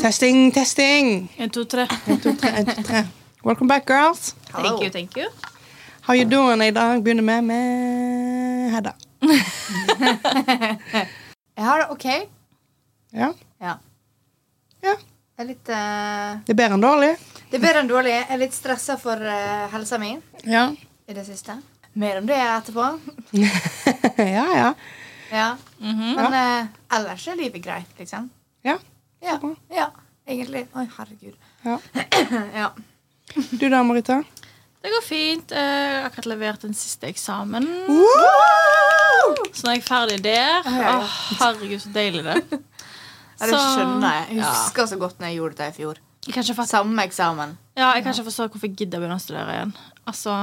Testing, testing. En, to, tre. En, to, tre, en, to, tre. Welcome back, girls. Thank you, thank you. How you doing i dag? Begynner vi med Hedda. Jeg har det OK. Ja. Ja. ja. Jeg er litt eh, Det er bedre enn dårlig. Det er bedre enn dårlig. Jeg er litt stressa for eh, helsa mi Ja. i det siste. Mer om det etterpå. ja, ja. Ja. Men eh, ellers er livet greit, liksom. Ja. Ja. bra. ja. Egentlig. Oi, herregud. Ja. Ja. Du da, Marita? Det går fint. Eh, Jeg har akkurat levert den siste eksamen. Så nå er jeg ferdig der. ja. Åh, herregud, så deilig det er. Ja, det skjønner jeg. Jeg husker så godt når jeg gjorde det i fjor. Jeg kan ikke fatte Samme eksamen. Ja, jeg kan ikke forstå hvorfor jeg gidder å begynne å studere igjen. Altså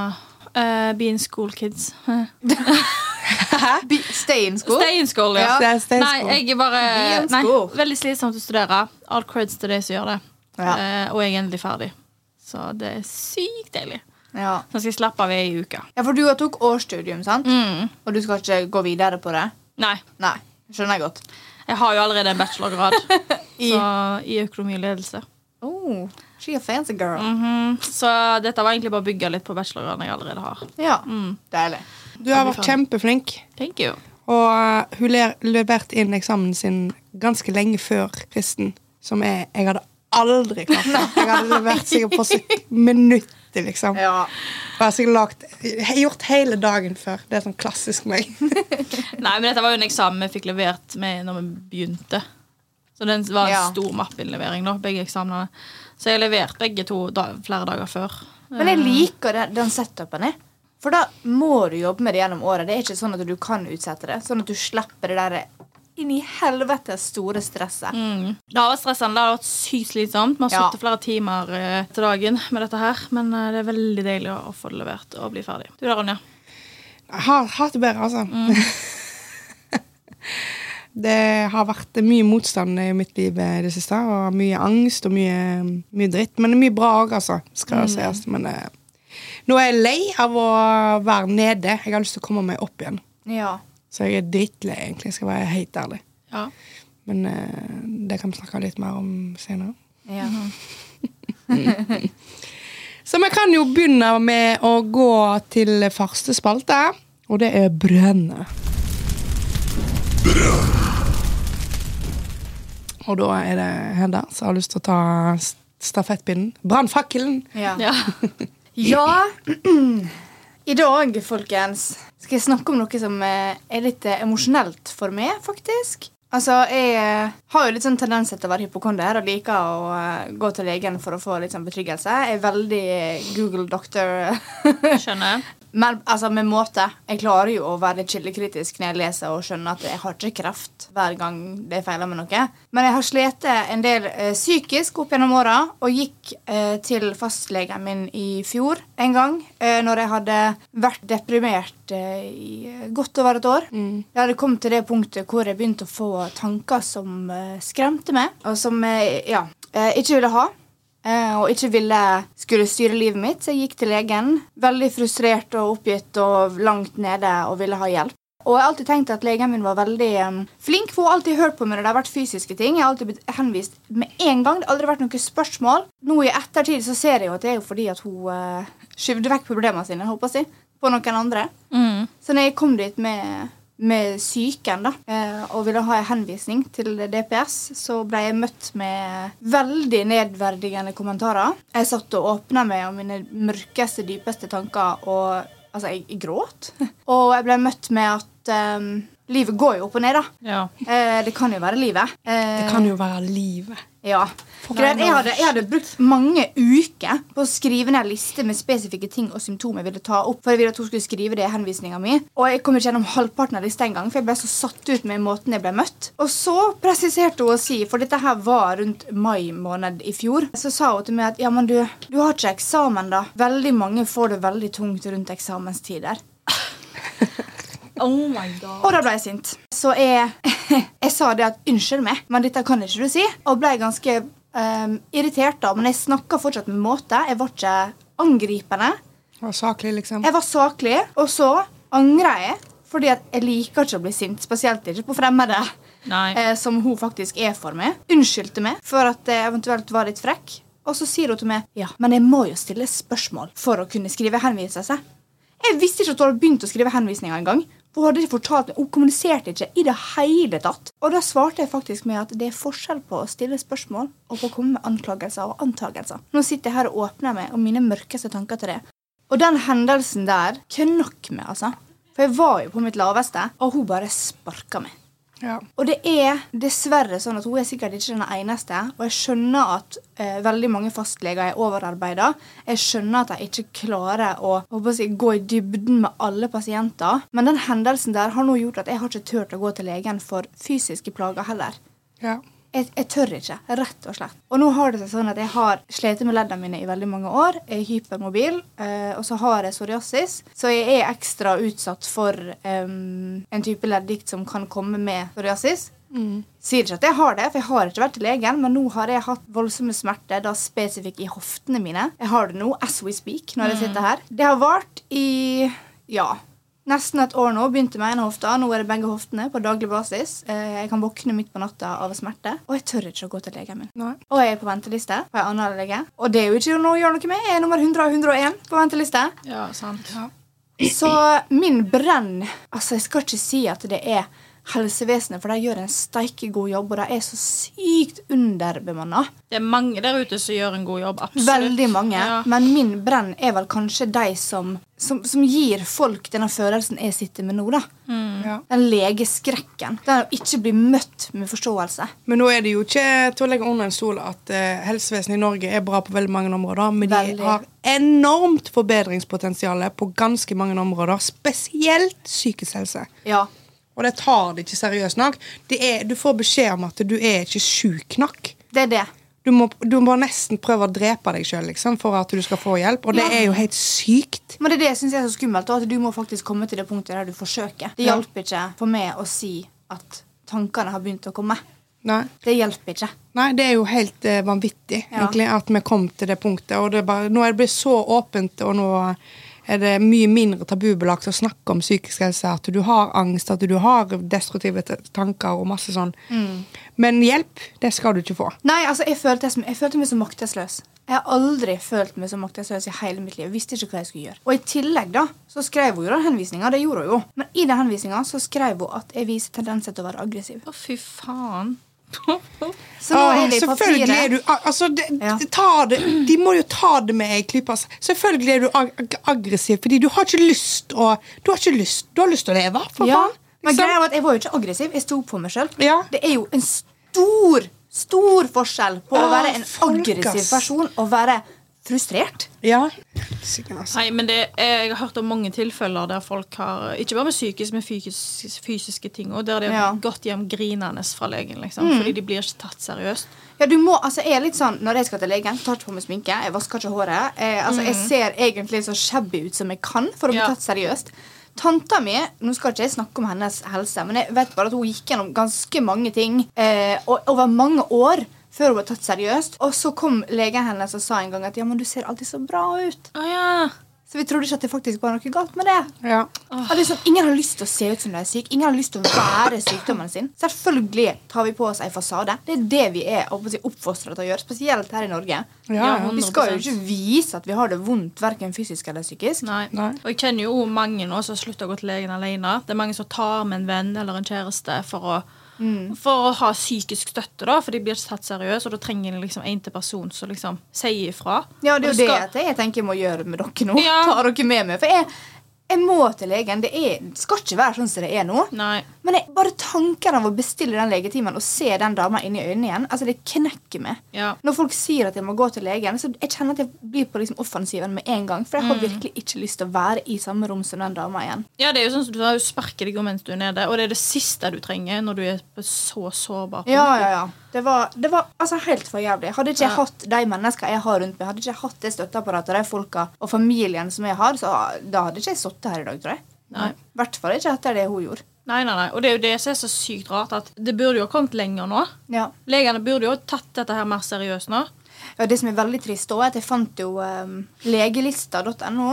eh, Be in school, kids. Be- Stay in school. Stay in school, ja. Det er Nei, steinsko. jeg er bare Be in nei, school. Veldig slitsomt å studere. All creds til de som gjør det. Ja. Eh, og jeg er endelig ferdig. Så det er sykt deilig. Ja. Nå skal jeg slappe av i ei uke. ja, for du har tok årsstudium, sant? Mm. Og du skal ikke gå videre på det? Nei. Nei. Skjønner jeg godt. Jeg har jo allerede en bachelorgrad I- så, i økonomi og ledelse. Oh, she a fancy girl. Mhm. Så dette var egentlig bare å bygge litt på bachelorgraden jeg allerede har. Ja, Mm. deilig. Du har vært kjempeflink. Thank you. Og eh, hun ler- leverte inn eksamen sin ganske lenge før fristen, som jeg, jeg hadde aldri klart. det. Jeg hadde levert sikkert på sek- minuttet, liksom. Ja. Og jeg har sikkert lagt, jeg har gjort hele dagen før. Det er sånn klassisk meg. Nei, men dette var jo en eksamen vi fikk levert med når vi begynte. Så den var en Ja. stor mappeinnlevering, da, begge eksamenene. Så jeg leverte begge to da, flere dager før. Men jeg liker den, den setupen. Jeg. For da må du jobbe med det gjennom året. Det er ikke sånn at du kan utsette det. Sånn at du slipper det der inn i helvete store stresset. Mhm. Det har vært stressende, det har vært sykt slitsomt. Vi har Ja. sittet flere timer eh, til dagen med dette her, men eh, det er veldig deilig å å få det levert og bli ferdig. Du da, Ronja? Jeg har hatt det bedre, altså. det har vært mye motstand i mitt liv eh, det siste, og mye angst og mye, mye dritt. Men det er mye bra òg, altså. Skal det sies. Men eh, nå er jeg lei av å være nede. Jeg har lyst til å komme meg opp igjen. Ja. Så jeg er drittlei, egentlig. Skal jeg være helt ærlig. Ja. Men eh, det kan vi snakke litt mer om senere. ja. Så vi kan jo begynne med å gå til første spalte, og det er brønnet. Og da er det Hedda som har lyst til å ta st- stafettpinnen. Brannfakkelen! Ja. ja. Ja. I dag, folkens, skal jeg snakke om noe som eh, er litt eh, emosjonelt for meg, faktisk. Altså, Jeg eh, har jo litt sånn tendens til å være hypokonder og liker å eh, gå til legen for å få litt sånn betryggelse. Jeg er veldig eh, Google doctor Skjønner. Men altså, med måte. Jeg klarer jo å være litt kildekritisk når jeg leser og skjønner at jeg har ikke kreft hver gang det feiler med noe. Men jeg har slitt en del eh, psykisk opp gjennom åra og gikk eh, til fastlegen min i fjor en gang eh, når jeg hadde vært deprimert eh, i godt over et år. Jeg hadde kommet til det punktet hvor jeg begynte å få tanker som eh, skremte meg, og som jeg ja, eh, ikke ville ha. Eh, og ikke ville skulle styre livet mitt, så jeg gikk til legen. Veldig frustrert og oppgitt og langt nede og ville ha hjelp. Og jeg har alltid tenkt at legen min var veldig eh, flink, for hun har alltid hørt på meg når det har vært fysiske ting. Jeg har alltid blitt henvist med en gang. Det har aldri vært noe spørsmål. Nå i ettertid så ser jeg jo at det er jo fordi at hun eh, skyvde vekk problemene sine, håper jeg, å si, på noen andre. Mm. Så når jeg kom dit med, med syken da, eh, og ville ha en henvisning til DPS, så ble jeg møtt med veldig nedverdigende kommentarer. Jeg satt og åpna meg om mine mørkeste, dypeste tanker, og altså, jeg, jeg gråt. Og jeg ble møtt med at eh, livet går jo opp og ned, da. Ja. Eh, det kan jo være livet. Eh, Det kan jo være livet. ja. Greit, jeg, hadde, jeg hadde brukt mange uker på å skrive ned en liste med spesifikke ting og symptomer jeg ville ta opp. For jeg ville at hun skulle skrive det i henvisninga mi. Og jeg kom ikke gjennom halvparten av lista engang, for jeg ble så satt ut med måten jeg ble møtt. Og så presiserte hun å si, for dette her var rundt mai måned i fjor, så sa hun til meg at ja, men du, du har ikke eksamen, da. Veldig mange får det veldig tungt rundt eksamenstider. Oh my god. Og da ble jeg sint. Så jeg, jeg sa det at unnskyld meg, men dette kan ikke du si. Og ble ganske ehm, irritert, da. Men jeg snakka fortsatt med måte. Jeg var ikke angripende. Og saklig, liksom. Jeg var saklig. Og så angra jeg, Fordi at jeg liker ikke å bli sint, spesielt ikke på fremmede. Nei. Eh, som hun faktisk er for meg. Unnskyldte meg for at jeg eventuelt var litt frekk. Og så sier hun til meg ja, men jeg må jo stille spørsmål for å kunne skrive henviselse. Jeg visste ikke at hun hadde begynt å skrive henvisninger engang. Hun hadde ikke fortalt meg, hun kommuniserte ikke i det hele tatt. Og da svarte jeg faktisk med at det er forskjell på å stille spørsmål og på å komme med anklagelser og antagelser. Nå sitter jeg her og åpner meg om mine mørkeste tanker til det. Og den hendelsen der knakk meg, altså. For jeg var jo på mitt laveste, og hun bare sparka meg. Ja. Og det er dessverre sånn at hun er sikkert ikke den eneste. Og jeg skjønner at eh, veldig mange fastleger er overarbeida. Jeg skjønner at de ikke klarer å, håper jeg, å si, gå i dybden med alle pasienter. Men den hendelsen der har nå gjort at jeg har ikke turt å gå til legen for fysiske plager heller. ja. Jeg, jeg tør ikke, rett og slett. Og nå har det seg sånn at jeg har slitt med leddene mine i veldig mange år. Jeg er hypermobil, eh, og så har jeg psoriasis. Så jeg er ekstra utsatt for em, en type leddgikt som kan komme med psoriasis. Sier ikke at jeg har det, for jeg har ikke vært til legen, men nå har jeg hatt voldsomme smerter, da spesifikt i hoftene mine. Jeg har det nå, as we speak, når jeg sitter her. Det har vart i ja, Nesten et år nå. Begynte med ene hofta, nå er det begge hoftene på daglig basis. Eh, Jeg kan våkne midt på natta av smerte, og jeg tør ikke å gå til legen min. Nei. Og jeg er på venteliste på en annen lege, og det er jo ikke noe å gjøre noe med. Jeg er nummer 100 av 101 på venteliste. Ja, sant. Så min brenn Altså, jeg skal ikke si at det er helsevesenet, for de gjør en steike god jobb, og de er så sykt underbemanna. Det er mange der ute som gjør en god jobb. Absolutt. Veldig mange. Ja. Men min brenn er vel kanskje de som, som, som gir folk denne følelsen jeg sitter med nå, da. Ja. Den legeskrekken. Den å ikke bli møtt med forståelse. Men nå er det jo ikke til å legge under en stol at eh, helsevesenet i Norge er bra på veldig mange områder, men Veldig. de har enormt forbedringspotensial på ganske mange områder, spesielt psykisk helse. Ja. Og det tar de ikke seriøst nok. Det er, du får beskjed om at du er ikke sjuk nok. Det er det. Du må, du må nesten prøve å drepe deg sjøl liksom, for at du skal få hjelp, og det er jo helt sykt. Men det er det jeg syns er så skummelt, da, at du må faktisk komme til det punktet der du forsøker. Det Ja. hjalp ikke for meg å si at tankene har begynt å komme. Nei. Det hjelper ikke. Nei, det er jo helt eh, vanvittig Ja. egentlig at vi kom til det punktet. Og det er bare, nå er det blitt så åpent, og nå er det mye mindre tabubelagt å snakke om psykisk helse. At du har angst, at du har destruktive t- tanker og masse sånn. Men hjelp, det skal du ikke få. Nei, altså, jeg følte, jeg som- jeg følte meg så maktesløs. Jeg har aldri følt meg så maktesløs i hele mitt liv. Jeg visste ikke hva jeg skulle gjøre. Og i tillegg da, så skrev hun jo den henvisninga. Det gjorde hun jo. Men i den henvisninga så skrev hun at jeg viser tendenser til å være aggressiv. Å, fy faen. Så nå Åh, er det i selvfølgelig er papiret. du al- altså, det, Ja. det- ta det, De må jo ta det med ei klype. ass. Selvfølgelig er du ag ag aggressiv, fordi du har ikke lyst å Du har ikke lyst, du har lyst til å leve, for Ja, faen. men liksom. greia var at Jeg var jo ikke aggressiv. Jeg sto på meg sjøl. Ja. Det er jo en stor, stor forskjell på å Ah, være en folk, aggressiv ass. person og være frustrert. Ja. Sikkert, altså. Nei, men det, jeg har hørt om mange tilfeller der folk har Ikke bare med psykisk, men fysisk, fysiske ting òg. Der de har Ja. gått hjem grinende fra legen liksom, fordi de blir ikke tatt seriøst. Ja, du må, altså jeg er litt sånn, Når jeg skal til legen, tar ikke på meg sminke, jeg vasker ikke håret. Jeg, altså, jeg ser egentlig så shabby ut som jeg kan for å bli Ja. tatt seriøst. Tanta mi nå skal ikke jeg snakke om hennes helse, men jeg vet bare at hun gikk gjennom ganske mange ting eh, og, over mange år før hun ble tatt seriøst. Og så kom legen hennes og sa en gang at ja, men du ser alltid så bra ut. Å ja. Så vi trodde ikke at det faktisk var noe galt med det. Ja. Og det er sånn, Ingen har lyst til å se ut som de er syke. Ingen har lyst til å være sykdommen sin. Selvfølgelig tar vi på oss en fasade. Det er det vi er oppfostra til å gjøre, spesielt her i Norge. Ja, Ja, ja. hun- Vi skal jo ikke vise at vi har det vondt, verken fysisk eller psykisk. Nei. Nei. Og jeg kjenner jo mange nå som slutter å gå til legen alene. Det er mange som tar med en venn eller en kjæreste for å, Mm. for å ha psykisk støtte, da, for de blir ikke tatt seriøst, og da trenger de liksom en til person som liksom sier ifra. Ja, det er Og jo det skal- at jeg tenker jeg må gjøre med dere nå. Ja. Ta dere med meg. For jeg, jeg må til legen. Det er, det skal ikke være sånn som det er nå. Nei. Men jeg, bare tanken av å bestille den legetimen og se den dama inni øynene igjen, altså det knekker meg. Ja. Når folk sier at jeg må gå til legen, så jeg kjenner at jeg blir på liksom offensiven med en gang. For jeg har virkelig ikke lyst til å være i samme rom som den dama igjen. Ja, det er jo sånn som du har jo sparket deg om mens du er nede, og det er det siste du trenger når du er på så sårbar. punkt. Ja, ja, ja. Det var, det var altså helt for jævlig. Hadde ikke jeg Ja. hatt de menneskene jeg har rundt meg, hadde ikke jeg hatt det støtteapparatet de folka og familien som jeg har, så da hadde ikke jeg sittet her i dag, tror jeg. Nei. I hvert fall ikke etter det hun gjorde. Nei, nei, nei. Og det er jo det som er så sykt rart, at det burde jo ha kommet lenger nå. Ja. Legene burde jo ha tatt dette her mer seriøst nå. ehm, Ja, Det som er veldig trist, også, er at jeg fant jo um, legelista.no.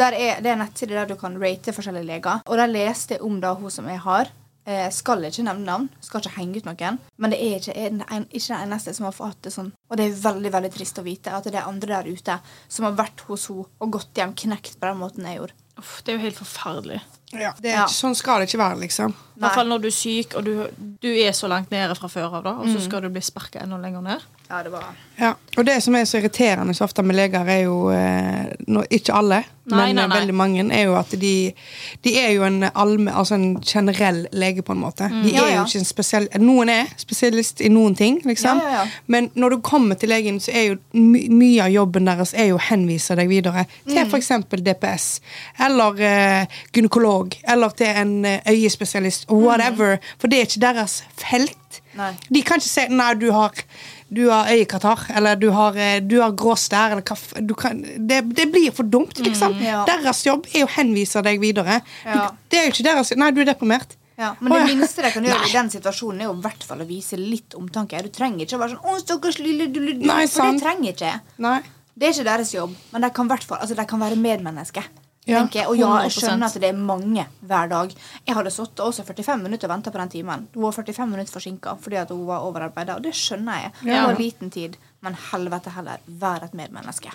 Der er, det er en nettside der du kan rate forskjellige leger. Og der leste jeg om da hun som jeg har. Eh, skal ikke nevne navn, skal ikke henge ut noen. Men det er ikke en, en, ikke den eneste som har hatt det sånn. Og det er veldig veldig trist å vite at det er andre der ute som har vært hos henne og gått hjem knekt på den måten jeg gjorde. Uff, det er jo helt forferdelig. Ja. Det er, Ja. ikke- Sånn skal det ikke være, liksom. I hvert fall når du er syk, og du, du er så langt nede fra før av, da, og Mm. så skal du bli sparka enda lenger ned. Ja, det var... Ja. Og det som er så irriterende så ofte med leger, er jo eh, nå- Ikke alle, Nei, men nei, eh, nei. veldig mange. Er jo at de, de er jo en, allme, altså en generell lege, på en måte. De Mm. Ja, er ja. jo ikke en spesiell Noen er spesialist i noen ting, liksom. Ja, ja, ja. Men når du kommer til legen, så er jo my mye av jobben deres er jo å henvise deg videre til Mm. for f.eks. DPS, eller eh, gynekolog, eller til en eh, øyespesialist, whatever. For det er ikke deres felt. Mm. Nei. De kan ikke si 'nei, du har, du har øyekatarr', eller du har, eh, du har grå stær, eller hva f- du kan, det, det blir for dumt, liksom. Mm. Ja. Deres jobb er å henvise deg videre. Ja. Det er jo ikke deres 'nei, du er deprimert'. Ja, men det Å, ja. minste de kan gjøre i den situasjonen, er jo i hvert fall å vise litt omtanke. Du trenger ikke å være sånn 'Å, stakkars lille du, du, du, Nei, For sant. det trenger ikke jeg. Nei. Det er ikke deres jobb, men de kan, i hvert fall- altså, de kan være medmenneske. Ja, tenker jeg. Og ja, 100%. jeg skjønner at det er mange hver dag. Jeg hadde sittet også 45 minutter og venta på den timen. Hun var 45 minutter forsinka fordi at hun var overarbeida, og det skjønner jeg. Det Ja. var liten tid, men helvete heller, vær et medmenneske.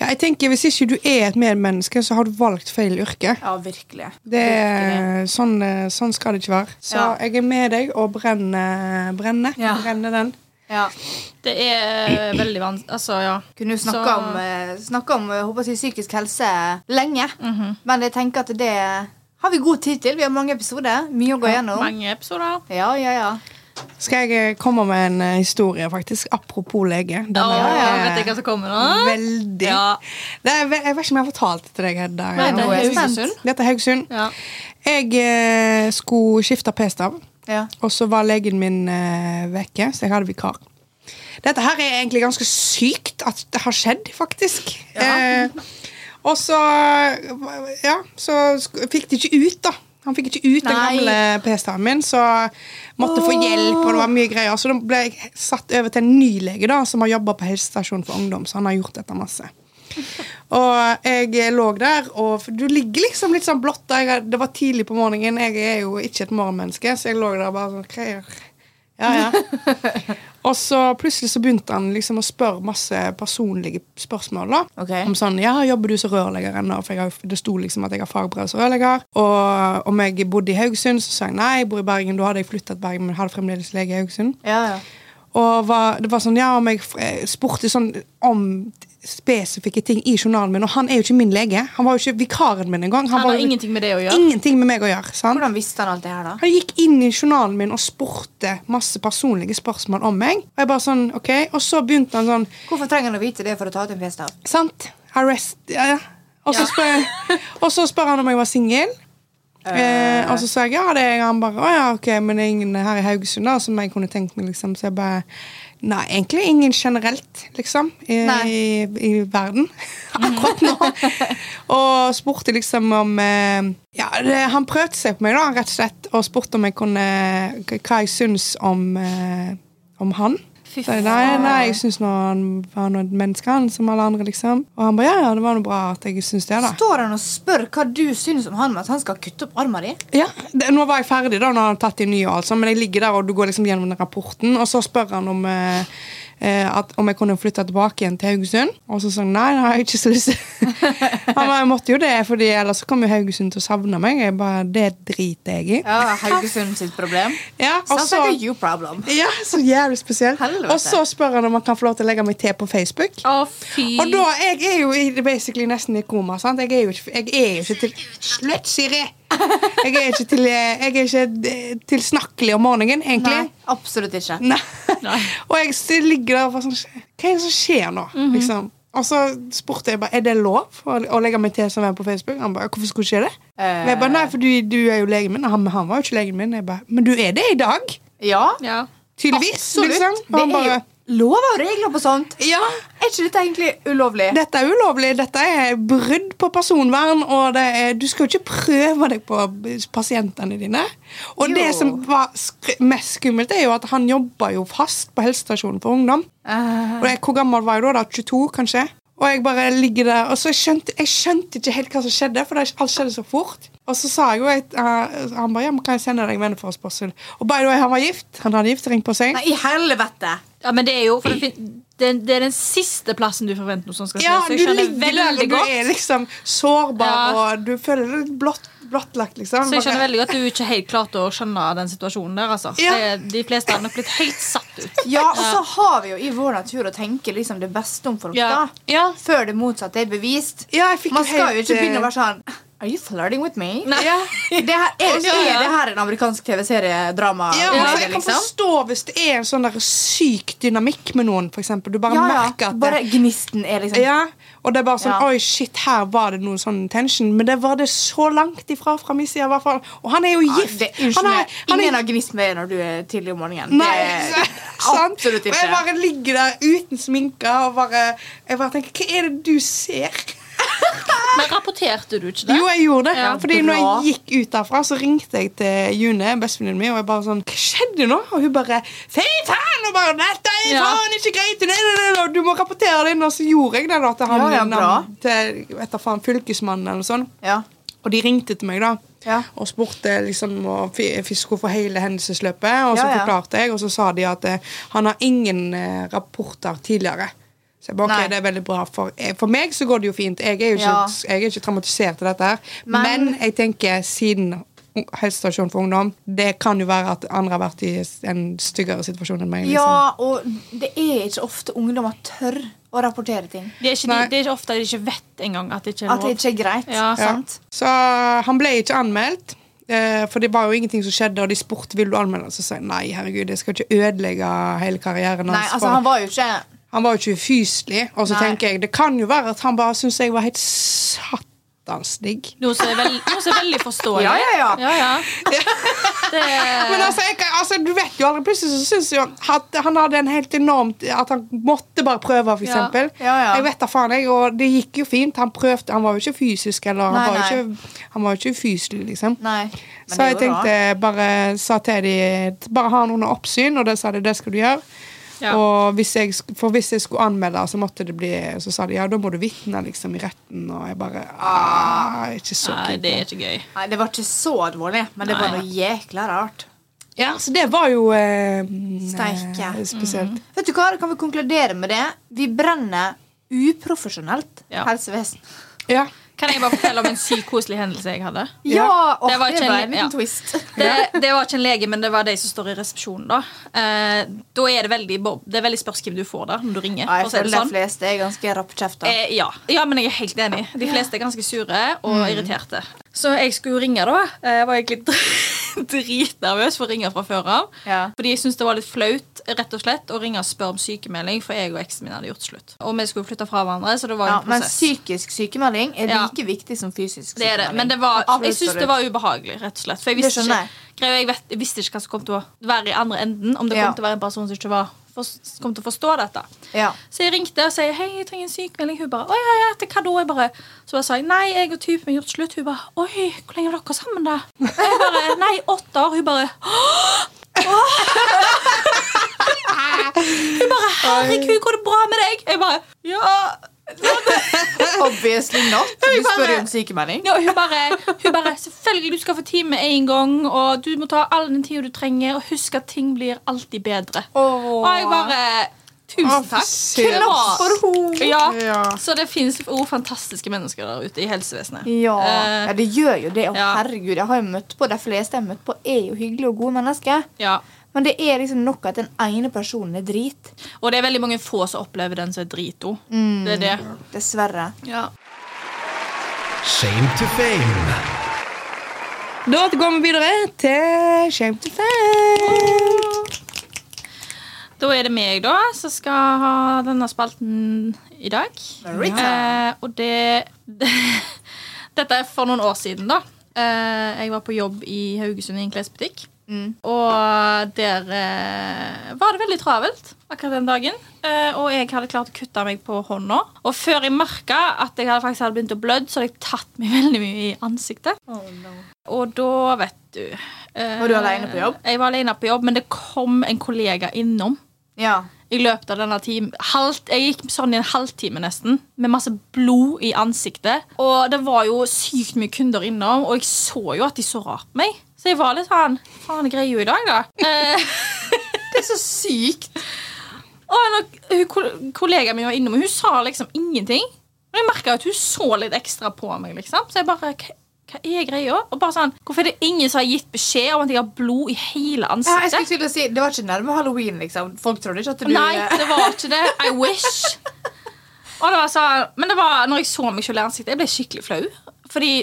Ja, jeg tenker, Hvis ikke du er et medmenneske, så har du valgt feil yrke. Ja, virkelig. Det Virkelig. er, sånn, eh, sånn skal det ikke være. Så Ja. jeg er med deg og brenner, brenner, Ja. brenner den. Ja. Det er veldig vanskelig Altså, ja. kunne jo snakke Så- om, eh, snakke om eh, håper jeg, å si, psykisk helse lenge. Men jeg tenker at det har vi god tid til. Vi har mange episoder. Mye å gå gjennom. Mange episoder. Ja, ja, ja. Skal jeg eh, komme med en eh, historie, faktisk? Apropos lege. Den Ja, er, ja, eh, vet jeg hva som kommer nå? Veldig. Ja. Det er, ve- jeg vet ikke om jeg har fortalt det til deg, Hedda. Nei, det Nå er er jeg spent. Haugesund. Dette er Haugesund. Ja. Jeg eh, skulle skifte p-stav, ja. og så var legen min eh, vekke, så jeg hadde vikar. Dette her er egentlig ganske sykt at det har skjedd, faktisk. Eh, og så Ja, så sk- fikk de ikke ut, da. Han fikk ikke ut den Nei. gamle p-staven min, så måtte få hjelp, og det var mye greier. Så da ble jeg satt over til en ny lege da, som har jobba på helsestasjonen for ungdom, så han har gjort dette masse. Og jeg lå der, og f- du ligger liksom litt sånn blått der. Jeg- Det var tidlig på morgenen. Jeg er jo ikke et morgenmenneske, så jeg lå der bare sånn hva gjør? Ja, ja. Og så plutselig så begynte han liksom å spørre masse personlige spørsmål. da Ok. Om sånn Ja, jobber du som rørlegger ennå? For jeg har, det sto liksom at jeg har fagbrev som rørlegger. Og om jeg bodde i Haugesund, så sa jeg nei, jeg bor i Bergen. Da hadde jeg flyttet til Bergen, men hadde fremdeles lege i Haugesund. ja, ja. Og var, det var sånn, ja, om jeg eh, spurte sånn om spesifikke ting i journalen min, og han er jo ikke min lege. Han var jo ikke vikaren min engang. Han var har jo ingenting med det å gjøre. ingenting med meg å gjøre. sant? Hvordan visste han alt det her, da? Han gikk inn i journalen min og spurte masse personlige spørsmål om meg. Og jeg bare sånn, ok. Og så begynte han sånn Hvorfor trenger han å vite det for å ta ut en p-stav? Sant? Arrest Ja, ja. Og så spør, og så spør han om jeg var singel. Eh, og så sa jeg ja, det er jeg. Han bare å ja, ok, men det er ingen her i Haugesund da som jeg kunne tenkt meg, liksom. Så jeg bare Nei, egentlig ingen generelt, liksom, i, Nei. i, i verden akkurat nå. og spurte liksom om eh, Ja, det, han prøvde seg på meg, da, rett og slett, og spurte om jeg kunne Hva jeg syns om, eh, om han. Fy Så jeg, nei, nei, jeg syns nå han var noe menneske, han, som alle andre, liksom. Og han bare ja, ja, det var noe bra at jeg syns det, da. Står han og spør hva du syns om han mens han skal kutte opp armen din? Ja, det, Nå var jeg ferdig, da, når han tatt i ny og alt sånn, men jeg ligger der, og du går liksom gjennom den rapporten, og så spør han om eh, eh, at, om jeg kunne flytte tilbake igjen til Haugesund. Og så sa han nei, det har jeg ikke så lyst til. han bare, jeg måtte jo det, fordi ellers så kom jo Haugesund til å savne meg. Jeg bare, Det driter jeg i. Ja, Sånn Haugesund sitt problem. Ja, og Sounds så like a you problem. ja, så jævlig spesielt. Helvete. Og så spør han om han kan få lov til å legge meg til på Facebook. Å, fy. Og da, jeg er jo i- basically nesten i koma, sant? Jeg er jo ikke, jeg er jo ikke til Slutt, Siri! Jeg er ikke, til, jeg er ikke eh, tilsnakkelig om morgenen, egentlig. Nei, absolutt ikke. Nei. Nei. Og jeg s- ligger der og bare sånn Hva er det som skjer nå? Mhm. liksom? Og så spurte jeg bare, er det lov å, å legge meg til som venn på Facebook. Han bare, hvorfor skulle ikke det? Eh. Og jeg bare, nei, for du, du er jo legen min. Og Han, han var jo ikke legen min. Jeg bare, men du er det i dag. Ja, Ja. Tydeligvis. absolutt. liksom. Og Det han er jo bare, lover og regler på sånt. ja, Er ikke dette egentlig ulovlig? Dette er ulovlig. Dette er brudd på personvern. Og det er, du skal jo ikke prøve deg på pasientene dine. Og Jo. det som var skr mest skummelt, er jo at han jobba jo fast på helsestasjonen for ungdom. Eh, Og jeg, hvor gammel var jeg da? da? 22, kanskje? Og jeg bare ligger der, og så skjønte jeg skjønte ikke helt hva som skjedde, for det, alt skjedde så fort. Og så sa jeg jo at eh, Han bare ja, men kan jeg sende deg venneforespørsel. Og by the way, han var gift. Han hadde giftering på seg. Nei, i helvete! Ja, men det er jo for det, fin- det, det er den siste plassen du forventer noe som skal skje. Ja, så du jeg skjønner ligger der, veldig og du godt er liksom sårbar, Ja. og du føler deg blott, blottlagt, liksom. Så jeg skjønner Bare- veldig godt at du ikke helt klarte å skjønne den situasjonen der. altså Ja. det, De fleste hadde nok blitt helt satt ut. Ja, og så har vi jo i vår natur å tenke liksom det beste om folk, Ja. da. ja. Før det motsatte er bevist. Ja, jeg fikk Man skal jo helt, ikke begynne å eh, være sånn Are you flirting with me? Nei. ja. Det her, er, Ja, ja. er det her en amerikansk TV-seriedrama? Ja, Ja, altså, jeg kan liksom? forstå hvis det er en sånn der syk dynamikk med noen, for eksempel. Du bare Ja, merker ja. at Bare det, gnisten er liksom ja, Og det er bare sånn Ja. Oi, shit, her var det noe sånn tension. Men det var det så langt ifra fra min side, i hvert fall. Og han er jo Ja, gift! det, unnskyld han meg. er, han Ingen er, har gnist med når du er tidlig om morgenen. Nei, det, sant? absolutt Og jeg ikke. bare ligger der uten sminke og bare, jeg bare tenker Hva er det du ser? Men rapporterte du ikke det? Jo, jeg gjorde det. Ja, fordi når bra. jeg gikk ut derfra, så ringte jeg til June, bestevenninnen min, og jeg bare sånn Hva skjedde nå? Og hun bare Fy faen! Og bare Dette er Ja. faen ikke greit! Nei, nei, nei, nei, Du må rapportere det inn. Og så gjorde jeg det da til han Ja, ja, bra. navn- til etter faen fylkesmannen eller noe sånt. Ja. Og de ringte til meg, da. Ja. Og spurte liksom og fi- fisk hvorfor hele hendelsesløpet. Og så Ja, ja. forklarte jeg, og så sa de at eh, han har ingen eh, rapporter tidligere. Så jeg bare, Nei. ok, det er veldig bra For, eh, for meg så går det jo fint. Jeg er jo ikke, Ja. jeg er ikke traumatisert til dette. her Men- Men, jeg tenker siden ung- helsestasjon for ungdom Det kan jo være at andre har vært i s- en styggere situasjon enn meg. ja, Liksom. og det er ikke ofte ungdommer tør å rapportere ting. Det er, ikke, de, Nei. det er ikke ofte de ikke vet engang at det ikke er At lov. det ikke er greit. Ja. Sant? Så han ble ikke anmeldt. eh, For det var jo ingenting som skjedde, og de spurte vil du anmelde. Så sa jeg nei, herregud, jeg skal ikke ødelegge hele karrieren Nei, hans. altså, for- han var jo ikke Han var jo ikke ufyselig. Og så Nei. tenker jeg, det kan jo være at han bare syntes jeg var helt satans digg. Noe som er, veld, noe som er veldig forståelig. Ja, ja, ja. ja. Det, Men altså, jeg, kan- altså, du vet jo aldri. Plutselig så syns jeg jo at han hadde en helt enormt At han måtte bare prøve, for Ja. eksempel. Ja, ja. Jeg vet da faen, jeg. Og det gikk jo fint. Han prøvde. Han var jo ikke fysisk, eller Nei, han, var jo nei. ikke, han var jo ikke ufyselig, liksom. Nei. Men Så det er jeg jo tenkte rart. bare sa til de Bare ha han under oppsyn, og det sa de det skal du gjøre. Ja. Og hvis jeg, sk- for hvis jeg skulle anmelde, så måtte det bli Så sa de ja, da må du vitne liksom, i retten. Og jeg bare ah, Ikke så nei, kult. det er ikke gøy. Nei, det var ikke så alvorlig, men det var Nei. noe jækla rart. Ja, så det var jo eh, Steike. eh, Spesielt. Vet du hva, da kan vi konkludere med det? Vi brenner uprofesjonelt Ja. helsevesen. Ja. Kan jeg bare fortelle om en sykt koselig hendelse jeg hadde? Ja, og Det det var var, ikke en- en liten ja. twist. Det, det var ikke en lege, men det var de som står i resepsjonen. Da eh, Da er det veldig, det er veldig spørs hvem du får der når du ringer. Ja, for å jeg si det føler sånn. de fleste er ganske rappkjefta. Eh, ja. ja, men jeg er helt enig. De fleste er ganske sure og Mm. irriterte. Så jeg skulle ringe, da. Eh, Jeg var egentlig dr- dritnervøs for å ringe fra før av. Ja. Fordi jeg syntes det var litt flaut rett og slett å ringe og spørre om sykemelding, for jeg og eksen min hadde gjort slutt. Og vi skulle flytte fra hverandre, så det var Ja, jo en men prosess. psykisk sykemelding er Ja. like viktig som fysisk det er det. sykemelding. Men det var, jeg Absolutt. syns det var ubehagelig, rett og slett. For jeg Det visste, skjønner jeg. ikke, Greia, jeg, vet, jeg visste ikke hva som kom til å være i andre enden. Om det Ja. kom til å være en person som ikke var, for, kom til å forstå dette. ja. Så jeg ringte og sa hei, jeg trenger en sykemelding. Hun bare å ja, ja, til hva da? Jeg bare, så bare sa jeg nei, jeg og typen min har gjort slutt. Hun bare oi, hvor lenge har dere sammen, da? Jeg bare nei, åtte år. Hun bare «Åh!» Hun bare herregud, går det bra med deg? Jeg bare ja. Obviously not. Du bare- spør jo om sykemelding. ja og hun, bare, hun bare selvfølgelig, du skal få tid med en gang, og du må ta all den tida du trenger, og husk at ting blir alltid bedre. Og jeg bare Tusen Å, takk. søt. Klar. for henne. Ja. Ja. Så det finnes også fantastiske mennesker der ute i helsevesenet. Ja. Eh, ja, det gjør jo det. Og ja. herregud, jeg har jo møtt på De fleste jeg har møtt på, er jo hyggelige og gode mennesker. ja. Men det er liksom nok at den ene personen er drit. Og det er veldig mange få som opplever den som er drito. Det er det. Dessverre. Ja. Shame to fame. Da går vi videre til Shame to Fact. Da er det meg, da, som skal ha denne spalten i dag. Maritza. Eh, og det, Dette er for noen år siden, da. Eh, jeg var på jobb i Haugesund i en klesbutikk. Mm. Og der eh, var det veldig travelt akkurat den dagen. Eh, og jeg hadde klart å kutte meg på hånda. Og før jeg merka at jeg hadde faktisk hadde begynt å blødd, så hadde jeg tatt meg veldig mye i ansiktet. Og da, vet du eh, Oh, Var du alene på jobb? Jeg var alene på jobb, men det kom en kollega innom Ja. I løpet av denne timen halvt, Jeg gikk sånn i en halvtime nesten, med masse blod i ansiktet. Og det var jo sykt mye kunder innom, og jeg så jo at de så rart på meg. Så jeg var litt sånn Faen, jeg greier jo i dag, da. Eh, Det er så sykt. og når, hun, kol- kollegaen min var innom, og hun sa liksom ingenting. Men jeg merka at hun så litt ekstra på meg, liksom. Så jeg bare "Hva- Hva er greia? Og bare sånn, Hvorfor er det ingen som har gitt beskjed om at jeg har blod i hele Ja, jeg ansiktet? skulle til å si, Det var ikke nærme halloween, liksom. Folk trodde ikke at du eh, Nei, det var ikke det. I wish. Og det var sånn, men det var når jeg så meg selv i ansiktet, jeg ble skikkelig flau. Fordi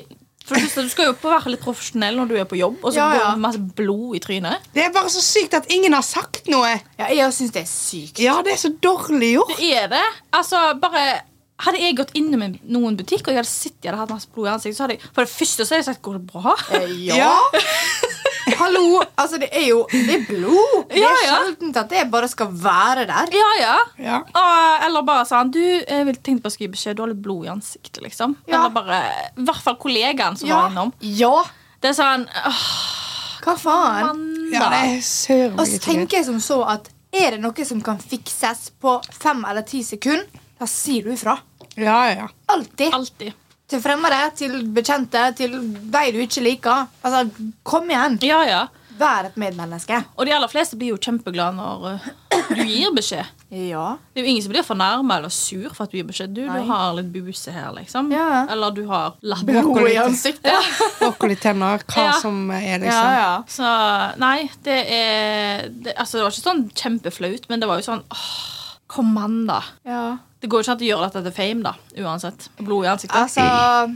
for det første, Du skal jo på være litt profesjonell når du er på jobb, og så Ja, ja. går det masse blod i trynet. Det er bare så sykt at ingen har sagt noe. Ja, Jeg syns det er sykt. Ja, det er så dårlig gjort. Det er det. Altså, bare Hadde jeg gått innom en- noen butikk og jeg hadde sittet, jeg hadde hatt masse blod i ansiktet, så hadde jeg for det første så hadde jeg sagt 'går det bra'? Eh, Hallo! Altså, det er jo Det er blod. Det Ja, er ja. sjeldent at det bare skal være der. Ja, ja. Ja. Og, eller bare sånn Du, jeg vil- tenkte på å skrive beskjed, du har litt blod i ansiktet, liksom. Ja. Eller bare I hvert fall kollegaen som var innom. ja. Det er sånn åh, Hva faen? mann, Ja, da. det er søren Og så ikke greit. tenker jeg som så at er det noe som kan fikses på fem eller ti sekunder, da sier du ifra. Ja, ja. Alltid. Alltid. Til fremmede, til bekjente, til de du ikke liker. Altså, kom igjen. Ja, ja. Vær et medmenneske. Og de aller fleste blir jo kjempeglade når eh, du gir beskjed. Ja. Det er jo ingen som blir fornærma eller sur for at du gir beskjed. Du, Nei. du har litt buse her, liksom. Ja. Eller du har latt Brokkoli. Blod i ansiktet. Brokkoli tenner, hva Ja. som er, Ja, liksom. ja. Så nei, det er det, Altså, det var ikke sånn kjempeflaut, men det var jo sånn åh, Kom an, da. ja. Det går jo ikke an å gjøre dette til fame, da. Uansett. Blod i ansiktet. Altså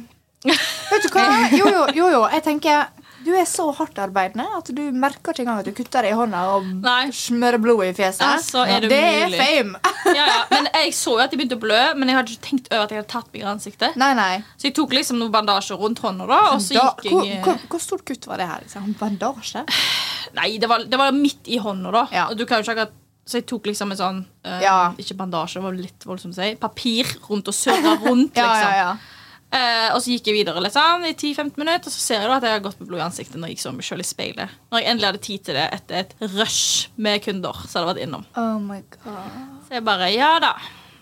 Vet du hva? Jo, jo, jo, jo. Jeg tenker du er så hardtarbeidende at du merker ikke engang at du kutter deg i hånda og Nei. smører blod i fjeset. Altså, er det det er mulig? fame. Ja, ja. Men jeg så jo at jeg begynte å blø, men jeg hadde ikke tenkt over at jeg hadde tatt meg i ansiktet. Nei, nei. Så jeg tok liksom noen bandasjer rundt hånda, da, og så Da, gikk hvor, jeg eh, hvor, hvor stort kutt var det her? Liksom? Bandasje? Nei, det var, det var midt i hånda, da. Ja. Og Du kan jo ikke akkurat så jeg tok liksom en sånn eh, Ja. Ikke bandasje, det var litt voldsomt å si. Papir rundt og surra rundt, Ja, ja, liksom. ja. Eh, og så gikk jeg videre liksom, i 10-15 minutter, og så ser jeg da at jeg har gått med blod i ansiktet når jeg så meg selv i speilet. Når jeg endelig hadde tid til det etter et rush med kunder som hadde vært innom. Oh my god. Så jeg bare Ja da.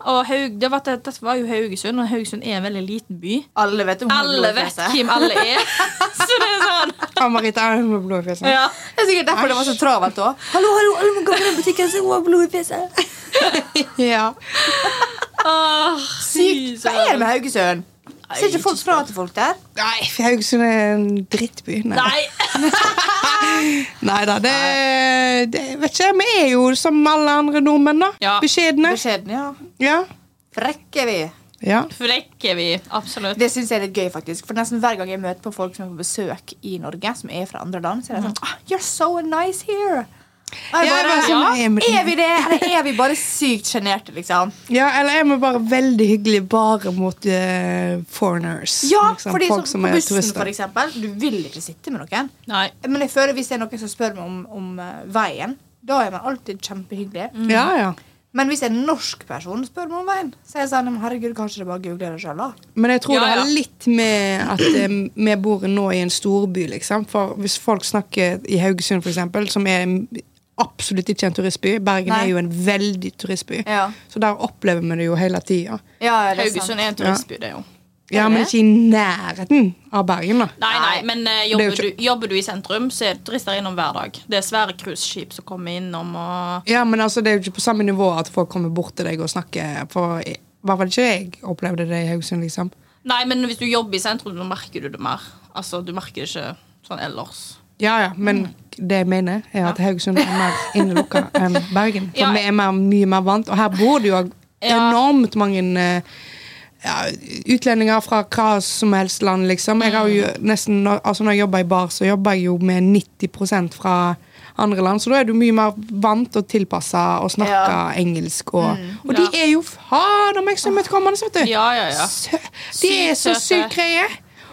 Og Haug, det var, dette var jo Haugesund, og Haugesund er en veldig liten by. Alle vet om hun har blod Alle i vet fjeset. hvem alle er. Så det er sånn. Ann-Marita er med blå i fjeset. Ja. Det er sikkert derfor det var så travelt òg. Hallo, hallo, alle må gå på den butikken så hun har blod i fjeset. Ja. Åh, Sykt. Hva er det med Haugesund? Ser ikke folk fra til folk der? Nei, Haugesund er sånn en drittby. Nei. Nei. Nei da, det, det vet ikke jeg. Vi er jo som alle andre nordmenn, da. Ja. Beskjedne. Beskjeden, ja. Ja. Frekke vi. ja. flekker vi. Absolutt. Det syns jeg er litt gøy, faktisk. For nesten hver gang jeg møter på folk som er på besøk i Norge, som er fra andre land, så er det sånn ah, You're so nice here. Og jeg Ja, bare, jeg bare sånn, ja, er vi- er vi det, eller er vi bare sykt sjenerte, liksom? ja, eller er vi bare veldig hyggelige bare mot eh, foreigners? Ja, liksom, fordi folk så, som på er bussen, for turister. eksempel, du vil ikke sitte med noen. Nei. Men jeg føler hvis det er noen som spør meg om, om eh, veien, da er man alltid kjempehyggelig. Ja, ja. Men hvis en norsk person spør meg om veien, så er jeg sånn "Men Herregud, kanskje det bare googler det sjøl, da. Men jeg tror Ja, det ja. har litt med at eh, vi bor nå i en storby, liksom. For hvis folk snakker i Haugesund, for eksempel, som er en- absolutt ikke en turistby Bergen Nei. er jo en veldig turistby. Ja. Så der opplever vi det jo hele tida. Ja, det er sant. Haugesund er en turistby, det er jo. Ja, det men det? ikke i nærheten av Bergen, da. Nei, nei, men Det eh, er jo jobber, ikke- du, jobber du i sentrum, så er det turister innom hver dag. Det er svære cruiseskip som kommer innom og Ja, men altså, det er jo ikke på samme nivå at folk kommer bort til deg og snakker. For i hvert fall ikke jeg opplevde det i Haugesund, liksom. Nei, men hvis du jobber i sentrum, så merker du det mer. Altså, du merker det ikke sånn ellers. Ja, ja, men det jeg mener, er at Haugesund er mer innelukka enn Bergen. For Ja. vi er mer, mye mer vant. Og her bor det jo Ja. enormt mange eh, ja, utlendinger fra hva som helst land, liksom. Jeg har Mm. jo nesten, når- altså når jeg jobber i bar, så jobber jeg jo med 90 fra andre land, så da er du mye mer vant og tilpassa og snakke Ja. engelsk. Og, og de Mm, Ja. er jo fader meg så imøtekommende, vet du. Ja, ja, ja. Sø- De er så Sykt søte. sykt greie.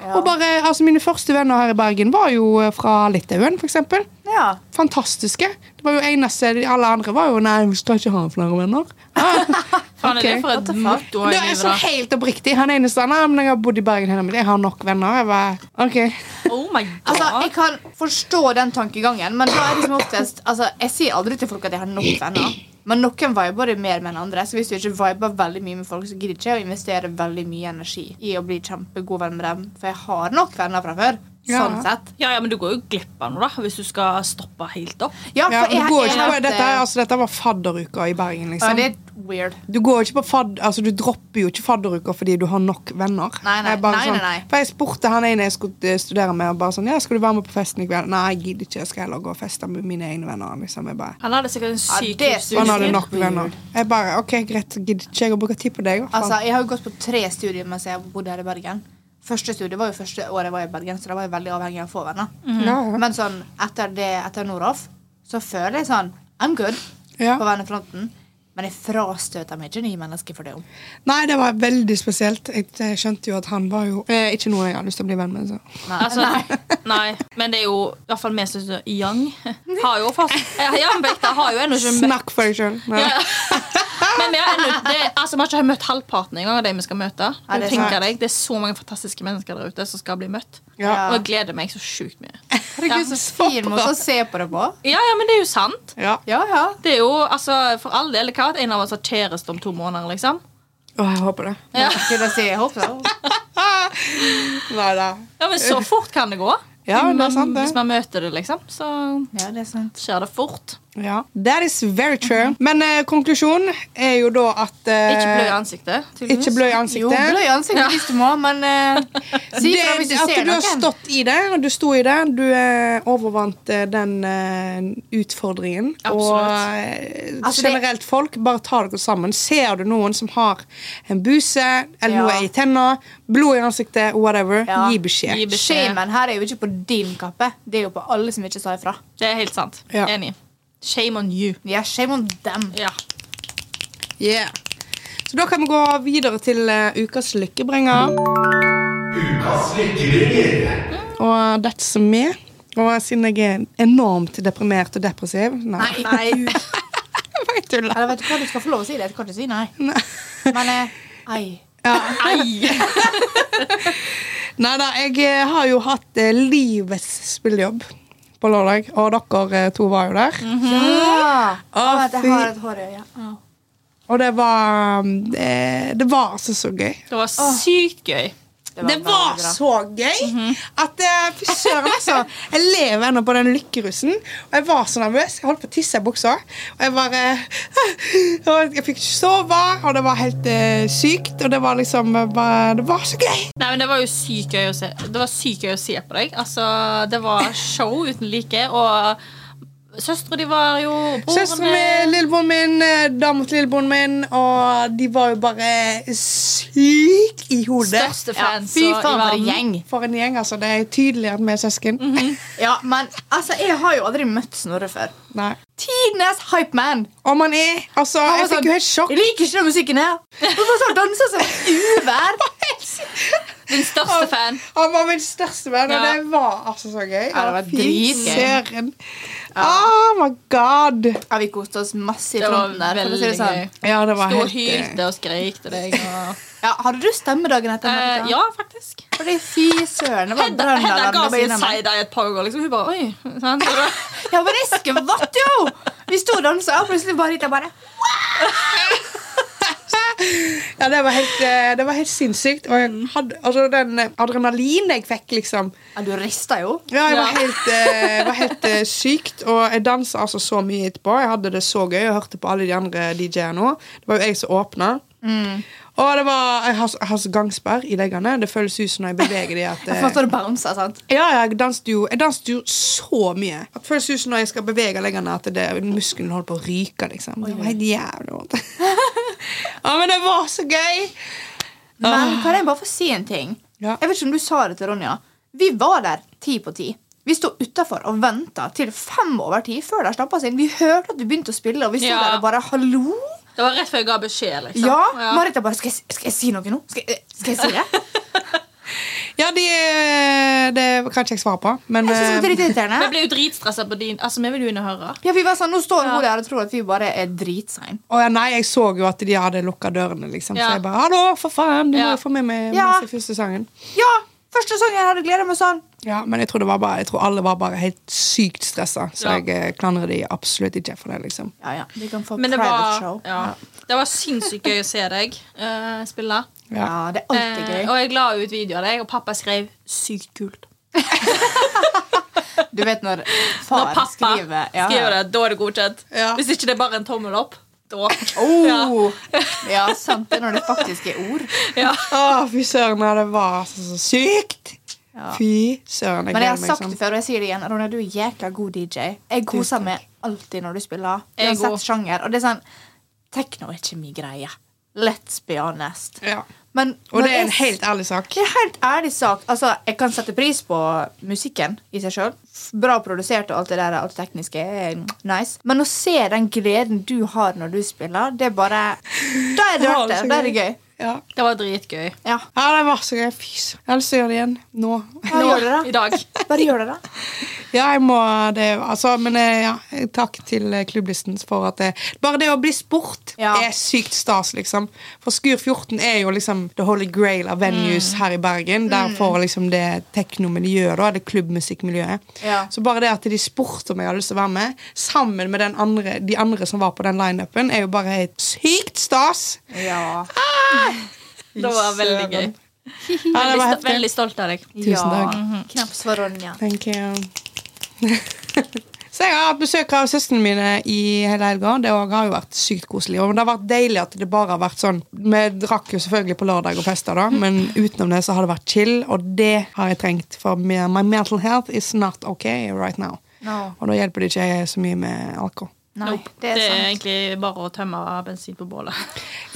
Og bare, altså Mine første venner her i Bergen var jo eh, fra Litauen, f.eks. Ja. Fantastiske. Det var jo eneste, de- Alle andre var jo Nei, vi skal ikke ha flere venner. Ah, Faen, er Ok. det for et motto i Det er livet, så da? helt oppriktig. Han eneste han har, men jeg har bodd i Bergen hele mitt liv. Jeg har nok venner. Jeg bare, ok. Oh my god. Altså, Jeg kan forstå den tankegangen, men da er det som oftest altså, Jeg sier aldri til folk at jeg har nok venner, men noen viber det mer med enn andre. Så hvis du ikke viber veldig mye med folk, så gidder ikke jeg å investere veldig mye energi i å bli kjempegod venn med dem, for jeg har nok venner fra før. Ja. Sånn sett. Ja, ja, men du går jo glipp av noe, da, hvis du skal stoppe helt opp. Ja, for Ja, men jeg, du går ikke på, helt, dette, eh, altså, dette var fadderuka i Bergen, ja, liksom. det er weird. Du går ikke på fadd, altså du dropper jo ikke fadderuka fordi du har nok venner. Nei, nei, Jeg bare nei, sånn, nei, nei. For jeg spurte han ene jeg skulle eh, studere med, og bare sånn, ja, skal du være med på festen i kveld? Nei, jeg gidder ikke, jeg skal heller gå og feste med mine egne venner, liksom. Jeg bare, Han hadde sikkert en Ja, syk det- han hadde livsstil. nok venner. Jeg bare, ok, greit, gidder ikke jeg å bruke tid på deg, hva Altså, faen? jeg har jo gått på tre studier mens jeg bodde her i Bergen. Første studie var jo første året jeg var i Bergen, så da var jeg veldig avhengig av å få venner. Ja, ja. Men sånn, etter, det, etter Noroff så føler jeg sånn I'm good Ja. på vennefronten. Men jeg frastøter meg ikke nye mennesker for det. om. Nei, det var veldig spesielt. Jeg eh, skjønte jo at han var jo eh, ikke noen jeg hadde lyst til å bli venn med. Så. Nei. Altså, nei. men det er jo i hvert fall vi som er young. Har jo fast, ja, ja, men på ekte, har jo ennå ikke møtt Snakk for deg sjøl. Ja. Men vi har, ennå, det, altså, vi har ikke møtt halvparten engang av de vi skal møte. Nei, det det, er sant. deg, det er så mange fantastiske mennesker der ute som skal bli møtt. Ja. Og jeg gleder meg så sjukt mye. Herregud, så fin måte å se på det på. Ja, ja, men det er jo sant. Ja. Ja, ja. Det er jo, altså, For all del, hva at en av oss har kjæreste om to måneder, liksom? Å, jeg håper det. Ja. Skulle jeg si, jeg håper det. Nei da. Ja, men Så fort kan det gå. Ja, det er sant, det. Hvis man møter det, liksom, så Ja, det er sant. skjer det fort. Ja. That is very Mhm. true. Men eh, konklusjonen er jo da at eh, Ikke blø i ansiktet. tydeligvis. Ikke blø i Jo, blø ansiktet. i ansiktet hvis du må, men eh, si Det, ifra hvis du at ser du har noen. stått i det, og du sto i det. Du eh, overvant eh, den eh, utfordringen. Absolutt. Og eh, Altså, det- generelt folk, bare ta dere sammen. Ser du noen som har en buse, eller noe Ja. i tenna, blod i ansiktet, whatever, Ja. gi beskjed. Gi beskjed. Shamen her er jo ikke på din kappe, det er jo på alle som ikke sa ifra. Det er helt sant. Ja. Enig. Shame on you. Ja, shame on them. Ja. Yeah. Så da kan vi gå videre til eh, ukas Mm. lykkebringer. Ukas lykkebringer. Og dette som meg. Og siden jeg er enormt deprimert og depressiv Nei, Nei. jeg bare tuller. Eller vet du hva, du skal få lov å si det. Jeg kan ikke si nei. Nei. Men eh, ei. Ei! Nei da, jeg eh, har jo hatt eh, livets spillejobb på lørdag, og dere eh, to var jo der. Mhm. Ja! Å, Å, vent, fy. jeg har et hår i øyet. Au. Og det var mm, eh, Det var altså så gøy. Det var sykt gøy. Det Det var var veldig bra. Mhm. så gøy at eh, Fy søren, altså. Jeg lever ennå på den lykkerusen. Og jeg var så nervøs. Jeg holdt på å tisse i buksa. Og jeg bare eh, og Jeg fikk ikke sove, og det var helt eh, sykt. Og det var liksom eh, bare Det var så gøy! Nei, men Det var jo sykt gøy å se Det var sykt gøy å se på deg. Altså, Det var show uten like. Og søstre de var jo og Søsteren min, Brorene lillebroren min, eh, dama til lillebroren min, og de var jo bare syke i hodet. Største fans Fy og i faen, for en verden. gjeng. For en gjeng, altså. Det er tydelig at vi er søsken. Ja, men altså, jeg har jo aldri møtt Snorre før. Nei. Tidenes hype man. Og man er Altså, Han jeg fikk var sånn, jo helt sjokk. Jeg liker ikke den musikken her. Hvorfor så danser som uvær? Din største fan. Han var min største venn, og Ja. det var altså så gøy. Ja, det var Å, fy dritgøy. Søren. Oh my god. Ja, vi koste oss masse i Det var fronten der. for å si veldig det sånn. gøy. Ja, det var Sto og helt eh, hylte og skreik til deg. Og, Ja, hadde du stemme dagen etter? Eh, Martha? ja, faktisk. Fordi fy søren, det var Hedda, Hedda ga oss brannalarm. det en var innom. side-eye et par ganger. Liksom. Hun bare Oi. sant? Så det- Ja, men jeg skvatt jo! Vi sto og dansa, og plutselig bare hit jeg bare Ja, det var helt, eh, det var helt sinnssykt. Og jeg hadde, altså, den eh, adrenalin jeg fikk, liksom Ja, du rista jo. Ja, jeg var Ja. helt, eh, var helt eh, sykt. Og jeg dansa altså så mye etterpå. Jeg hadde det så gøy og hørte på alle de andre DJ-ene òg. Det var jo jeg som åpna. Og det var, jeg har, jeg har så gangsperr i leggene. Det føles ut som når jeg beveger de at Jeg eh, forstår det bouncer, sant? ja, jeg danset, jo, jeg danset jo så mye. At føles ut som når jeg skal bevege leggene, at det, muskelen holder på å ryke. liksom. Det var helt jævlig vondt. ja, men det var så gøy! Men Ah. kan jeg bare få si en ting? Ja. Jeg vet ikke om du sa det til Ronja. Vi var der ti på ti. Vi sto utafor og venta til fem over ti før de slapp oss inn. Vi hørte at du begynte å spille, og vi sto Ja. der og bare 'hallo'? Det var rett før jeg ga beskjed. liksom Ja? Ja. Marit er bare skal jeg, 'Skal jeg si noe nå?' Skal jeg, skal jeg si det? Ja, de, eh, det kan ikke jeg svare på, men Jeg synes det er eh, litt irriterende. Vi ble jo dritstressa på din. Altså, vi vil jo inn og høre. Ja, vi var sånn, Nå står hun der og tror at vi bare er dritsein. å ja, Nei, jeg så jo at de hadde lukka dørene, liksom. Ja. Så jeg bare 'Hallo, for faen, du må Ja. jo få med meg Ja. mens jeg første sangen'. Ja! Første sangen jeg hadde gleda meg sånn. Ja, men jeg tror, det var bare, jeg tror alle var bare helt sykt stressa, så Ja. jeg eh, klandrer de absolutt ikke for det, liksom. Ja, ja, Vi kan få Men det private var, show. ja. det var sinnssykt gøy å se deg eh, spille. Ja. Ja, det er alltid Eh, gøy. og jeg la ut video av deg, og pappa skrev 'sykt kult'. Du vet når far Når pappa skriver skriver, det, da er det godkjent. Ja. Hvis ikke det er bare en tommel opp, da. Oh. Ja, sant. Det er når det faktisk er ord. Ja. Å, fy søren, ja, det var så, så sykt! Ja. Fy søren. Men jeg har gleder meg sagt sånn. det før, og jeg sier det igjen. Ronja, du er jækla god DJ. Jeg koser meg alltid når du spiller. Jeg Uansett òg. sjanger. Og det er sånn Tekno er ikke min greie. Let's be honest. Ja. Men Og når det er en jeg- helt ærlig sak. Det er helt ærlig sak. Altså, Jeg kan sette pris på musikken i seg sjøl. Bra produsert og alt det der, alt det tekniske er nice. Men å se den gleden du har når du spiller, det er bare Da er det Ja, verdt det. så Da er det gøy. Ja. Det var dritgøy. Ja. ja, det var så gøy. Fy søren. Jeg har lyst til å gjøre det igjen. Nå. Bare gjør det, I da. dag. Bare gjør det, da. Ja, jeg må det altså, Men eh, ja, takk til eh, klubblisten for at det Bare det å bli spurt Ja. er sykt stas, liksom. For Skur 14 er jo liksom the holy grail av Mm. venues her i Bergen. Der får liksom det teknomiljøet, da. Det klubbmusikkmiljøet. Ja. Så bare det at de spurte om jeg hadde lyst til å være med, sammen med den andre, de andre som var på den lineupen, er jo bare helt sykt stas. Ja. Det var veldig gøy. Søren. Ja, det var Veldig, heftig. veldig stolt av deg. Tusen takk. Knaps for Mhm. Ronja. Thank you. Så jeg har hatt besøk av søstrene mine i hele helga. Det også har jo vært sykt koselig. Og det har vært deilig at det bare har vært sånn Vi drakk jo selvfølgelig på lørdag og festa, da, men utenom det så har det vært chill, og det har jeg trengt. For me- my mental health is not okay right now. No. Og da hjelper det ikke så mye med alkohol. Nei, Nope. det er sant. egentlig bare å tømme bensin på bålet.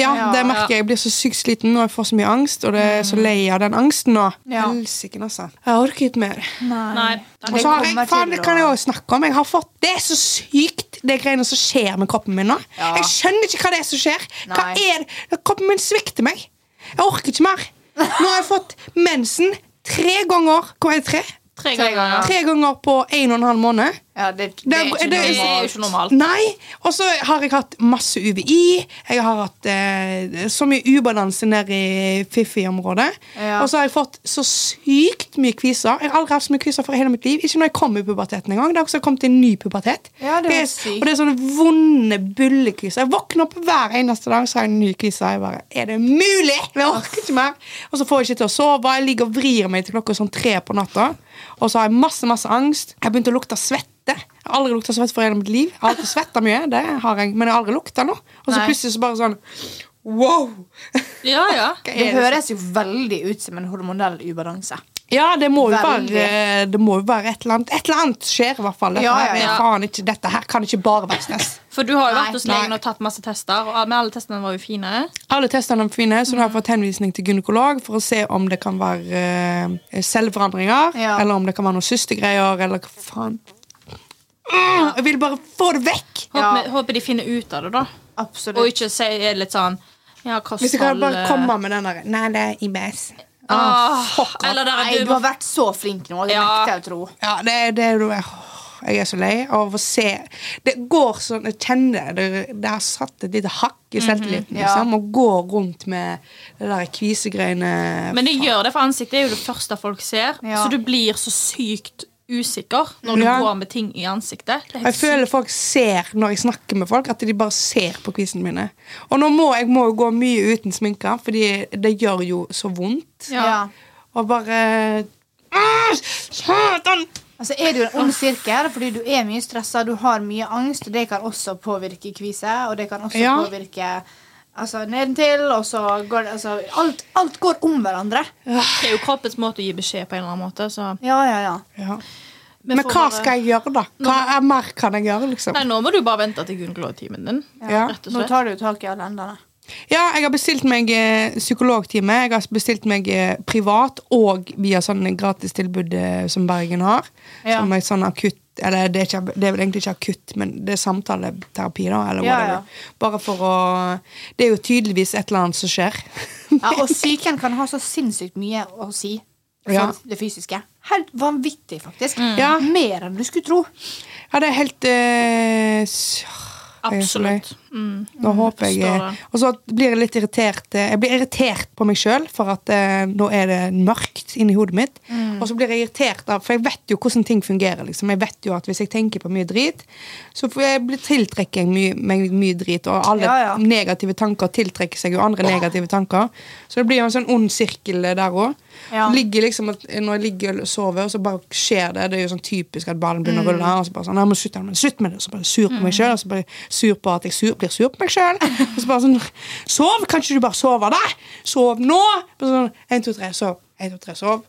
Ja, Ja. det merker jeg. Jeg blir så sykt sliten nå. Jeg får så mye angst, og det er så lei av den angsten nå. Ja. Helsike, altså. Jeg orker ikke mer. Nei. Og så har jeg, kommer faen, til det kan jeg å- også snakke om. Jeg har fått, det er så sykt, det greiene som skjer med kroppen min nå. Ja. Jeg skjønner ikke hva det er som skjer. Hva Nei. er det? Kroppen min svikter meg. Jeg orker ikke mer. Nå har jeg fått mensen tre ganger. Hvor er det tre? Tre ganger. Tre ganger på en og en halv måned. Ja, det, det, Det er er- ikke det er- Det er jo normalt. ikke normalt. Nei. Og så har jeg hatt masse UVI. Jeg har hatt eh, så mye ubalanse nede i Fifi-området. Ja. Og så har jeg fått så sykt mye kviser. Jeg har aldri hatt så mye kviser for hele mitt liv. Ikke når jeg kom i puberteten engang. Det har også kommet en ny pubertet. Ja, det er er, helt sykt. og det er sånne vonde bullekviser. Jeg våkner opp hver eneste dag så har jeg en ny kvise. Jeg bare Er det mulig?! Jeg orker ikke mer. Og så får jeg ikke til å sove. Jeg ligger og vrir meg til klokka sånn tre på natta. Og så har jeg masse, masse angst. Jeg begynte å lukte svette. Jeg har aldri lukta svett for hele mitt liv. Jeg har alltid svetta mye, det har jeg, men jeg har aldri lukta noe. Og så Nei. plutselig så bare sånn Wow! Ja, ja. Hva Det er det? høres jo veldig ut som en hormonell ubalanse. Ja, det må jo Veldig. være eh, Det må jo være et eller annet Et eller annet skjer, i hvert fall. Dette, Ja, ja, her er ja. Faen ikke, dette her kan ikke bare være stress. For du har jo Nei, vært hos nei. legen og tatt masse tester, og alle testene var jo fine. Alle testene er fine, så nå har jeg fått henvisning til gynekolog for å se om det kan være eh, celleforandringer, Ja. eller om det kan være noen systergreier, eller hva faen. Ah, jeg vil bare få det vekk! Håper, Ja. håper de finner ut av det, da. Og Absolutt. ikke sier litt sånn ja, kosthold Hvis jeg kan bare eh, komme med den der Nei, det er IBS. ah, Eller der Nei, er du du har vært så flink nå. Det Ja. nekter jeg å tro. Ja, det er det du er. Jeg er så lei av å se Det går sånn, jeg kjenner det. Det har satt et lite hakk i selvtilliten. ja. liksom, Og går rundt med det der kvisegreiene. Men det gjør det, for ansiktet er jo det første folk ser. Ja. Så du blir så sykt usikker når du Ja. går med ting i ansiktet. Det er Og Jeg helt sykt. føler folk ser når jeg snakker med folk, at de bare ser på kvisene mine. Og nå må jeg må jo gå mye uten sminke, fordi det gjør jo så vondt. Ja. Ja. Og bare Ah, Satan! Altså er det jo en ond sirkel, fordi du er mye stressa, du har mye angst, og det kan også påvirke kvise, og det kan også Ja. påvirke altså, nedentil, og så går det altså, alt, alt går om hverandre. Det er jo kroppens måte å gi beskjed på en eller annen måte. Så Ja, ja, ja. Ja. vi Men får hva bare- skal jeg gjøre, da? Hva er mer kan jeg gjøre, liksom? Nei, nå må du bare vente til gynekologtimen din. Ja. Rett og Nå slett. tar du jo tak i alle endene. Ja, jeg har bestilt meg eh, psykologtime. Jeg har bestilt meg eh, privat og via sånne gratistilbud eh, som Bergen har. Ja. Som er sånn akutt Eller det er, ikke, det er vel egentlig ikke akutt, men det er samtaleterapi, da. Eller Ja, whatever. ja. Bare for å Det er jo tydeligvis et eller annet som skjer. Ja, og psyken kan ha så sinnssykt mye å si. for Ja. Mm. det fysiske. Helt vanvittig, faktisk. Ja. Mer enn du skulle tro. Ja, det er helt eh, s- Absolutt. Mm. Nå håper jeg forstår det. Og så blir jeg litt irritert. eh, Jeg blir irritert på meg sjøl, for at eh, nå er det mørkt inni hodet mitt. Mm. Og så blir jeg irritert av For jeg vet jo hvordan ting fungerer. liksom Jeg vet jo at hvis jeg tenker på mye drit, så får jeg bli tiltrekker jeg mye, meg mye drit. Og alle Ja, ja. negative tanker tiltrekker seg jo andre negative tanker. Så det blir jo en sånn ond sirkel eh, der òg. Ja. Ligger liksom at Når jeg ligger og sover, og så bare skjer det. Det er jo sånn typisk at ballen begynner å Mm. rulle. Og så bare sånn, nei, men slutt, men slutt med det Og så bare sur på meg sjøl, og så bare sur på at jeg sur, blir sur på meg sjøl. Og så bare sånn Sov! Kan ikke du bare sove, da? Sov nå! Bare sånn, En, to, tre, sov. En, to, tre, sov.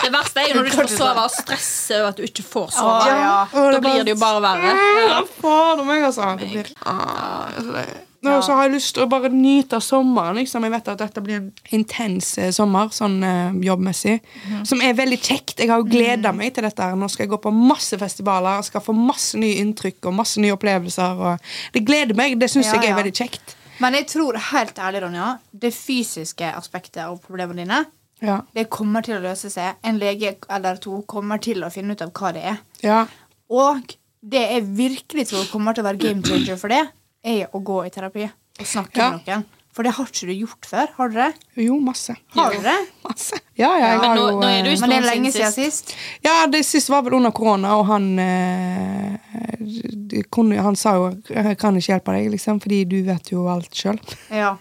Det verste er jo når du ikke får sove og stresser over at du ikke får sove. Å, ja. Og Da blir det jo bare verre. Ja, Fader meg, altså. Det blir, ah, så det- Nå så har jeg lyst til å bare nyte av sommeren. Liksom. Jeg vet at dette blir en intens eh, sommer, sånn eh, jobbmessig. Som er veldig kjekt. Jeg har jo gleda meg til dette. her. Nå skal jeg gå på masse festivaler og skal få masse nye inntrykk og masse nye opplevelser. Og det gleder meg. Det syns Ja, jeg er ja. veldig kjekt. Men jeg tror helt ærlig, Ronja, det fysiske aspektet av problemene dine Ja. det kommer til å løse seg. En lege eller to kommer til å finne ut av hva det er. ja. Og det jeg virkelig tror kommer til å være game changer for det, er å gå i terapi og snakke Ja. med noen. For det har ikke du gjort før. Har du det? Jo, masse. Har du det? Masse. Ja, ja, jeg Men har nå- jo nå er eh, du i Men det er stolen lenge siden siden sist. Ja, det siste var vel under korona, og han eh, de kunne, Han sa jo 'jeg kan ikke hjelpe deg', liksom, fordi du vet jo alt sjøl. Ja.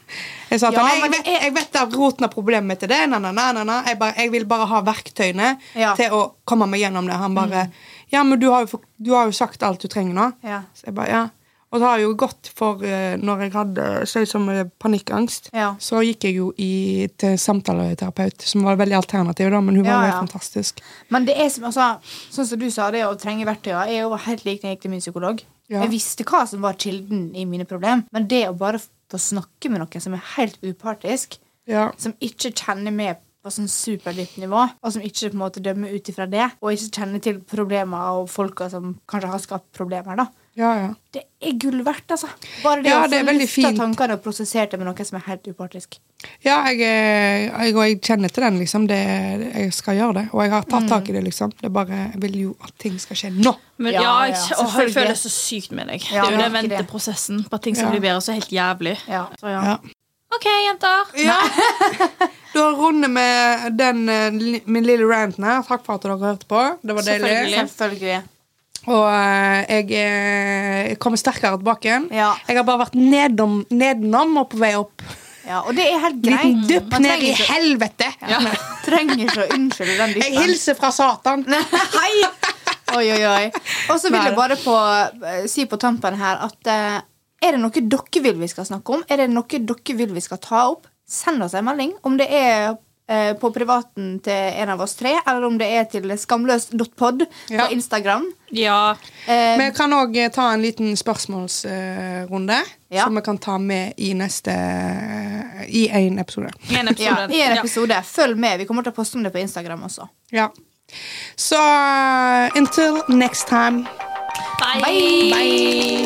Jeg sa til Ja, han, jeg, men vet- jeg vet da roten av problemet mitt er det. Na, na, na, na, na. Jeg, bare, jeg vil bare ha verktøyene Ja. Mm. til å komme meg gjennom det. Han bare 'Ja, men du har, jo, fått- du har jo sagt alt du trenger nå'. Ja. Så jeg bare, ja. Og det har jo gått for eh, Når jeg hadde så ut som eh, panikkangst, Ja. så gikk jeg jo i, til samtaleterapeut, som var veldig alternativ, da, men hun Ja, var jo ja. helt fantastisk. Men det er som, altså, sånn som du sa, det å trenge verktøyene er jo helt lik når jeg gikk til min psykolog. Ja. Jeg visste hva som var kilden i mine problemer, men det å bare få snakke med noen som er helt upartisk, Ja. som ikke kjenner med på sånn superdypt nivå, og som ikke på en måte dømmer ut ifra det, og ikke kjenner til problemer og folka som kanskje har skapt problemer, da. Ja, ja. Det er gull verdt, altså. Bare det Ja, å det få er veldig lufta fint. tankene og prosessert det med noen som er helt upartisk. Ja, jeg, eh, jeg, og jeg kjenner til den, liksom. Det, jeg skal gjøre det. Og jeg har tatt tak i det, liksom. Det er bare, jeg vil jo at ting skal skje nå. Men Ja, ja, ja, jeg, åh, jeg selvfølgelig. føler så sykt med deg. Ja, det er jo den merker det. venteprosessen på at ting som Ja. blir bedre, så er helt jævlig. Ja. Så, ja. Ja. OK, jenter. Da runder vi den eh, li- min lille ranten her. Takk for at dere hørte på. Det var deilig. Selvfølgelig. Selvfølgelig. Og eh, jeg eh, kommer sterkere tilbake igjen. Ja. Jeg har bare vært nedom, nedenom og på vei opp. Ja, og det er helt greit. Liten dupp Man ned i trenger ikke- helvete. Ja. Trenger ikke å unnskylde den Jeg dyppen. hilser fra Satan. Hei! Oi, oi, oi. Og så vil jeg bare på, eh, si på tampen her at eh, er det noe dere vil vi skal snakke om? Er det noe dere vil vi skal ta opp? Send oss en melding. Om det er eh, på privaten til en av oss tre, eller om det er til skamløs.pod Ja. på Instagram. Ja. Eh, Vi kan òg ta en liten spørsmålsrunde, Ja. som vi kan ta med i neste eh, I én episode. I en ja, episode. I en episode. Følg med. Vi kommer til å poste om det på Instagram også. Ja. Så until next time. Bye. Bye.